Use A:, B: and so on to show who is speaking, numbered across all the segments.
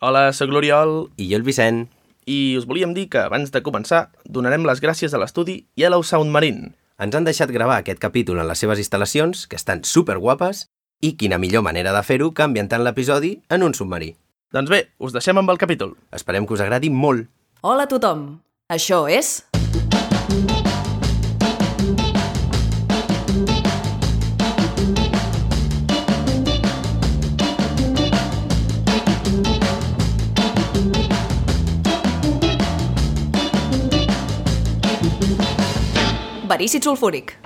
A: Hola, sóc l'Oriol
B: I jo el Vicent.
A: i us volíem dir que abans de començar donarem les gràcies a l'estudi Yellow Sound Marine.
B: Ens han deixat gravar aquest capítol en les seves instal·lacions, que estan superguapes, i quina millor manera de fer-ho que ambientant l'episodi en un submarí.
A: Doncs bé, us deixem amb el capítol.
B: Esperem que us agradi molt.
C: Hola a tothom, això és... Verícid sulfúric.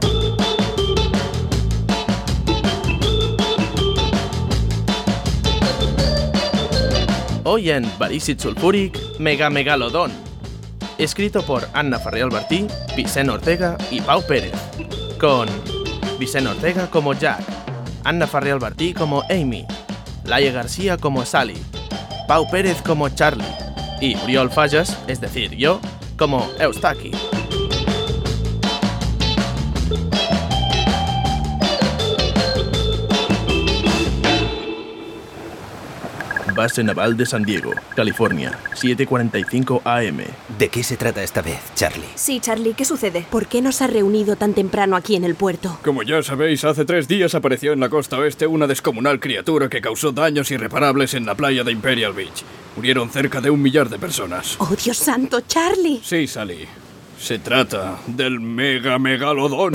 A: Hoy en Barícid Sulfúric, Mega Megalodón. Escrito por Anna Ferrer Albertí, Vicent Ortega y Pau Pérez. Con Vicent Ortega como Jack, Anna Ferrer Albertí como Amy, Laia García como Sally, Pau Pérez como Charlie y Oriol Fallas, es decir, yo, como Eustaki. Base Naval de San Diego, California, 7:45 AM.
B: ¿De qué se trata esta vez, Charlie?
C: Sí, Charlie, ¿qué sucede?
D: ¿Por qué nos ha reunido tan temprano aquí en el puerto?
E: Como ya sabéis, hace tres días apareció en la costa oeste una descomunal criatura que causó daños irreparables en la playa de Imperial Beach. Murieron cerca de un millar de personas.
D: ¡Oh, Dios santo, Charlie!
E: Sí, Sally. Se trata del mega megalodón.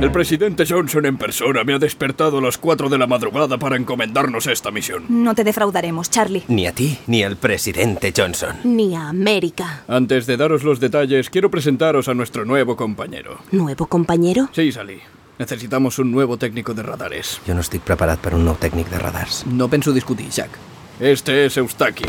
E: El presidente Johnson en persona me ha despertado a las 4 de la madrugada para encomendarnos esta misión.
C: No te defraudaremos, Charlie.
B: Ni a ti ni al presidente Johnson.
D: Ni a América.
E: Antes de daros los detalles, quiero presentaros a nuestro nuevo compañero.
D: ¿Nuevo compañero?
E: Sí, Sally. Necesitamos un nuevo técnico de radares.
B: Jo no estic preparat per un nou tècnic de radars.
E: No pienso discutir, Jack. Este es Eustaki.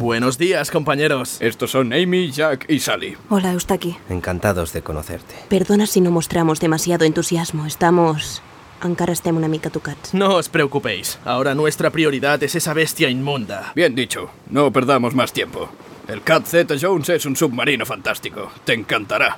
A: Buenos días, compañeros.
E: Estos son Amy, Jack y Sally.
C: Hola, Eustaki.
B: Encantados de conocerte.
D: Perdona si no mostramos demasiado entusiasmo. Estamos... Encara estem una mica tocats.
A: No os preocupéis, ahora nuestra prioridad es esa bestia inmunda.
E: Bien dicho, no perdamos más tiempo. El Cat Z Jones es un submarino fantástico. Te encantará.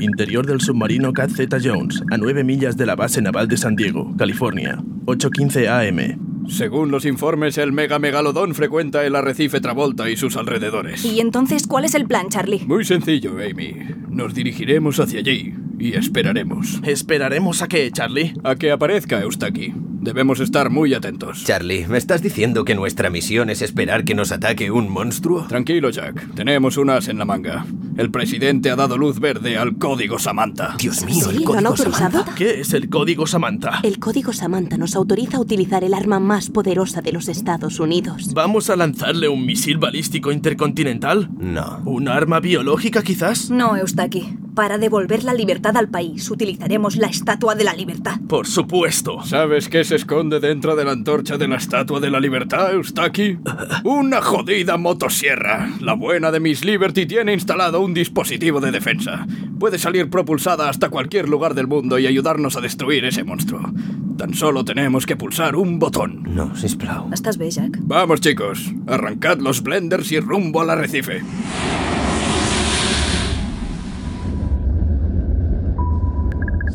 A: Interior del submarino Cat Z Jones, a 9 millas de la base naval de San Diego, California, 8:15 AM.
E: Según los informes, el mega megalodón frecuenta el arrecife Travolta y sus alrededores.
C: ¿Y entonces cuál es el plan, Charlie?
E: Muy sencillo, Amy. Nos dirigiremos hacia allí y esperaremos.
A: ¿Esperaremos a qué, Charlie?
E: A que aparezca Eustaki. Debemos estar muy atentos.
B: Charlie, ¿me estás diciendo que nuestra misión es esperar que nos ataque un monstruo?
E: Tranquilo, Jack. Tenemos unas en la manga. El presidente ha dado luz verde al código Samantha.
B: Dios mío, el
D: ¿Sí? ¿Lo han
B: código
D: autorizado?
B: Samantha.
A: ¿Qué es el código Samantha?
D: El Código Samantha nos autoriza a utilizar el arma más poderosa de los Estados Unidos.
A: ¿Vamos a lanzarle un misil balístico intercontinental?
B: No.
A: ¿Un arma biológica quizás?
F: No, Eustaki. Para devolver la libertad al país, utilizaremos la Estatua de la Libertad.
A: Por supuesto.
E: ¿Sabes qué se esconde dentro de la antorcha de la Estatua de la Libertad, Eustaki? Una jodida motosierra. La buena de Miss Liberty tiene instalado un dispositivo de defensa. Puede salir propulsada hasta cualquier lugar del mundo y ayudarnos a destruir ese monstruo. Tan solo tenemos que pulsar un botón.
B: No, sisplau.
F: ¿Estás bé, Jack?
E: Vamos, chicos. Arrancad los blenders y rumbo al arrecife.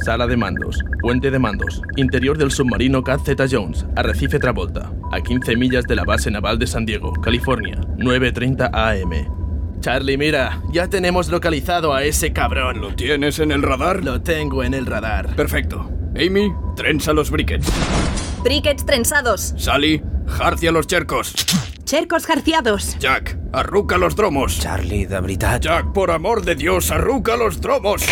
A: Sala de mandos, puente de mandos, interior del submarino Cat Z Jones, Arrecife Travolta, a 15 millas de la base naval de San Diego, California, 9.30 AM. Charlie, mira, ya tenemos localizado a ese cabrón.
E: ¿Lo tienes en el radar?
A: Lo tengo en el radar.
E: Perfecto. Amy, trenza los briquets.
F: Briquets trenzados.
E: Sally, jarcia los chercos.
D: ¡Chercos jarciados!
E: Jack, arruca los dromos.
B: Charlie, de veritat,
E: Jack, por amor de Dios, arruca los dromos!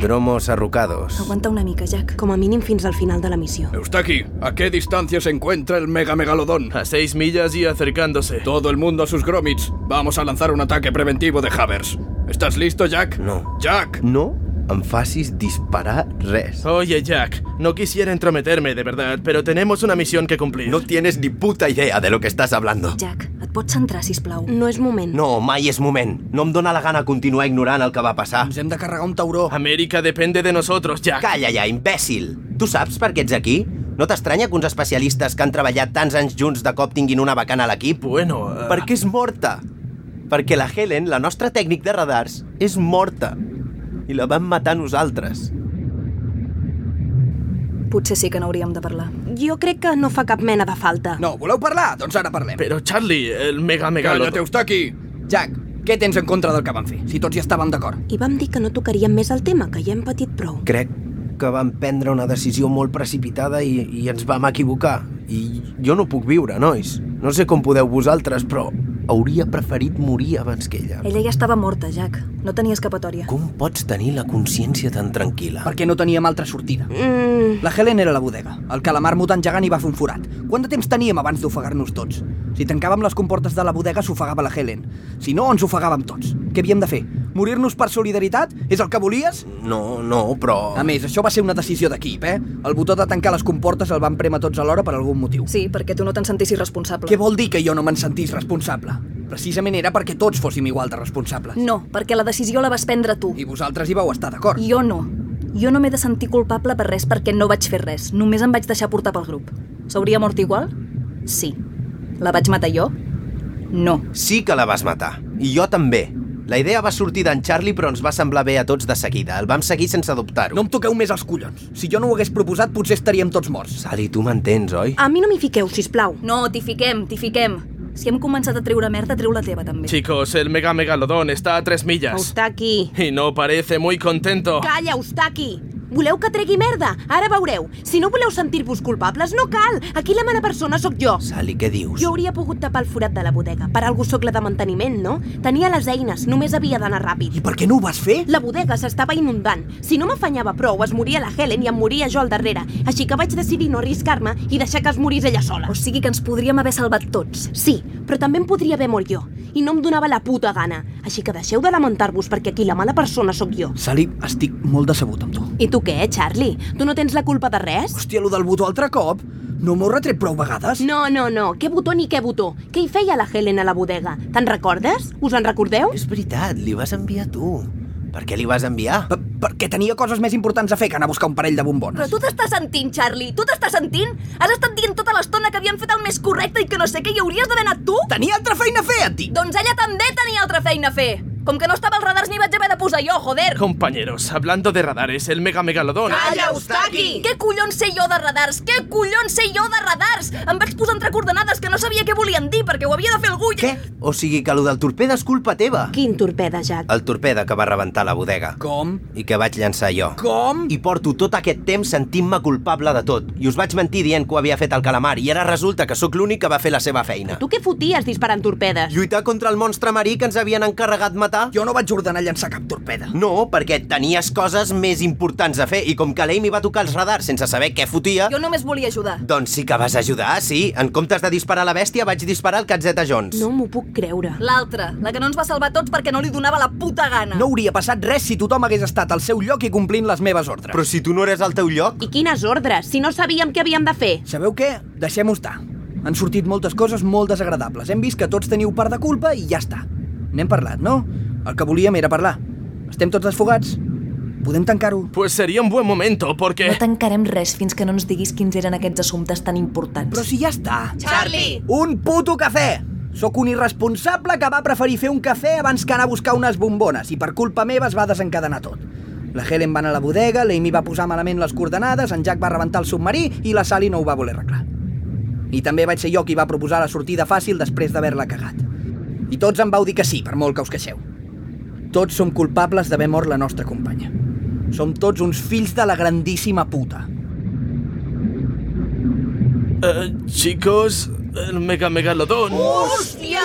B: dromos arrucados.
F: Aguanta una mica, Jack.
D: Com a mínim fins al final de la missió.
E: Eustaki, ¿a qué distancia se encuentra el mega megalodón?
A: A 6 millas y acercándose.
E: Todo el mundo a sus gromits. Vamos a lanzar un ataque preventivo de Havers. ¿Estás listo, Jack?
B: No.
E: Jack,
B: No em facis disparar res.
A: Oye, Jack, no quisiera entrometerme, de verdad, pero tenemos una misión que cumplir.
B: No tienes ni puta idea de lo que estás hablando.
F: Jack, et pots centrar, sisplau?
D: No és moment.
B: No, mai és moment. No em dóna la gana continuar ignorant el que va passar.
E: ens hem de carregar un tauró.
A: América depende de nosotros, Jack.
B: Calla ja, imbècil! Tu saps per què ets aquí? No t'estranya que uns especialistes que han treballat tants anys junts de cop tinguin una vacant a l'equip?
A: Bueno, eh,
B: Per què és morta? Perquè la Helen, la nostra tècnic de radars, és morta. I la vam matar nosaltres.
C: Potser sí que n'hauríem de parlar.
D: Jo crec que no fa cap mena de falta.
G: No, voleu parlar? Doncs ara parlem.
A: Però, Charlie, el mega
E: Cállate,
A: megalodón...
E: Eustaki!
G: Jack, què tens en contra del que van fer? Si tots hi estàvem d'acord.
D: I vam dir que no tocaríem més el tema, que ja hem patit prou.
B: Crec que vam prendre una decisió molt precipitada i, i ens vam equivocar. I jo no puc viure, nois. No sé com podeu vosaltres, però hauria preferit morir abans que ella.
C: Ella ja estava morta, Jack. No tenia escapatòria.
B: Com pots tenir la consciència tan tranquil·la?
G: Perquè no teníem altra sortida. La Helen era a la bodega. El calamar mutant gegant hi va fer un forat. Quant de temps teníem abans d'ofegar-nos tots? Si tancàvem les comportes de la bodega, s'ofegava la Helen. Si no, ens ofegàvem tots. Què havíem de fer? Morir-nos per solidaritat? És el que volies?
B: No, no, però...
G: A més, això va ser una decisió d'equip, eh? El botó de tancar les comportes el van premer tots alhora per algun motiu.
C: Sí, perquè tu no te'n sentissis responsable.
G: Què vol dir que jo no me'n sentís responsable? Precisament era perquè tots fóssim igual de responsables.
C: No, perquè la decisió la vas prendre tu.
G: I vosaltres hi vau estar d'acord.
C: Jo no. Jo no m'he de sentir culpable per res perquè no vaig fer res. Només em vaig deixar portar pel grup. S'hauria mort igual? Sí. La vaig matar jo? No.
B: Sí que la vas matar. I jo també. La idea va sortir d'en Charlie, però ens va semblar bé a tots de seguida. El vam seguir sense dubtar-ho.
G: No em toqueu més els collons. Si jo no ho hagués proposat, potser estaríem tots morts.
B: Sally, tu m'entens, oi?
D: A mi no m'hi fiqueu, sisplau.
C: No, t'hi fiquem, t'hi fiquem. Si hem començat a treure merda, treu la teva també.
A: Chicos, el mega megalodón está a tres millas.
D: Eustaqui.
A: Y no parece muy contento.
D: Calla, Eustaqui. Voleu que tregui merda? Ara veureu. Si no voleu sentir-vos culpables, no cal. Aquí la mala persona sóc jo.
B: Sally, què dius?
D: Jo hauria pogut tapar el forat de la bodega. Per algú sóc la de manteniment, no? Tenia les eines, només havia d'anar ràpid.
G: I per què no ho vas fer?
D: La bodega s'estava inundant. Si no m'afanyava prou, es moria la Helen i em moria jo al darrere. Així que vaig decidir no arriscar-me i deixar que es morís ella sola.
C: O sigui que ens podríem haver salvat tots.
D: Sí, però també em podria haver mort jo. I no em donava la puta gana. Així que deixeu de lamentar-vos perquè aquí la mala persona sóc jo.
G: Sally, estic molt decebut amb tu.
D: I tu què, Charlie? Tu no tens la culpa de res?
G: Hòstia, lo del botó altre cop? No m'ho retret prou vegades?
D: No, no, no. Què botó ni què botó? Què hi feia la Helen a la bodega? Te'n recordes? Us en recordeu?
B: És veritat, li vas enviar tu. Per què li vas enviar?
G: P perquè tenia coses més importants a fer que anar a buscar un parell de bombones.
F: Però tu t'estàs sentint, Charlie? Tu t'estàs sentint? Has estat dient tota l'estona que havíem fet el més correcte i que no sé què hi hauries d'haver anat tu?
G: Tenia altra feina a fer, et dic!
F: Doncs ella també tenia altra feina a fer. Com que no estava als radars ni vaig haver de posar jo, joder!
A: Compañeros, hablando de radares, el mega megalodón...
F: Eustaqui! Què collons sé jo de radars? Què collons sé jo de radars? Em vaig posar entre coordenades que no sabia què volien dir perquè ho havia de fer algú i...
B: Què? O sigui que lo del torpede és culpa teva?
D: Quin torpeda, Jack.
B: El torpede que va rebentar la bodega.
G: Com?
B: I que vaig llançar jo.
G: Com?
B: I porto tot aquest temps sentint-me culpable de tot. I us vaig mentir dient que ho havia fet el calamar i ara resulta que sóc l'únic que va fer la seva feina.
D: Tu què foties disparant torpedes?
B: Lluitar contra el monstre marí que ens havien encarregat matar?
G: Jo no vaig ordenar llançar cap torpeda.
B: No, perquè tenies coses més importants a fer i com que l'Amy va tocar els radars sense saber què fotia,
C: Jo només volia ajudar.
B: doncs sí que vas ajudar, sí. En comptes de disparar la bèstia, vaig disparar el Catzeta Jones.
D: No m'ho puc creure.
C: L'altra, la que no ens va salvar a tots perquè no li donava la puta gana.
G: No hauria passat res si tothom hagués estat al seu lloc i complint les meves ordres.
B: Però si tu no eres al teu lloc...
D: I quines ordres, si no sabíem què havíem de fer.
G: Sabeu què? Deixem-ho estar. Han sortit moltes coses molt desagradables. Hem vist que tots teniu part de culpa i ja està. N'hem parlat, no? El que volíem era parlar. Estem tots desfogats. Podem tancar-ho.
A: Pues sería un buen momento,
F: No
A: porque...
F: tancarem res fins que no ens diguis quins eren aquests assumptes tan importants.
G: Però si ja està.
F: Charlie!
G: Un puto cafè! Sóc un irresponsable que va preferir fer un cafè abans que anar a buscar unes bombones i per culpa meva es va desencadenar tot. La Helen va anar a la bodega, l'Amy va posar malament les coordenades, en Jack va rebentar el submarí i la Sally no ho va voler arreglar. I també vaig ser jo qui va proposar la sortida fàcil després d'haver-la cagat. I tots em vau dir que sí, per molt que us queixeu. Tots som culpables d'haver mort la nostra companya. Som tots uns fills de la grandíssima puta.
A: Eh, chicos, el mega megalodón...
F: Hòstia!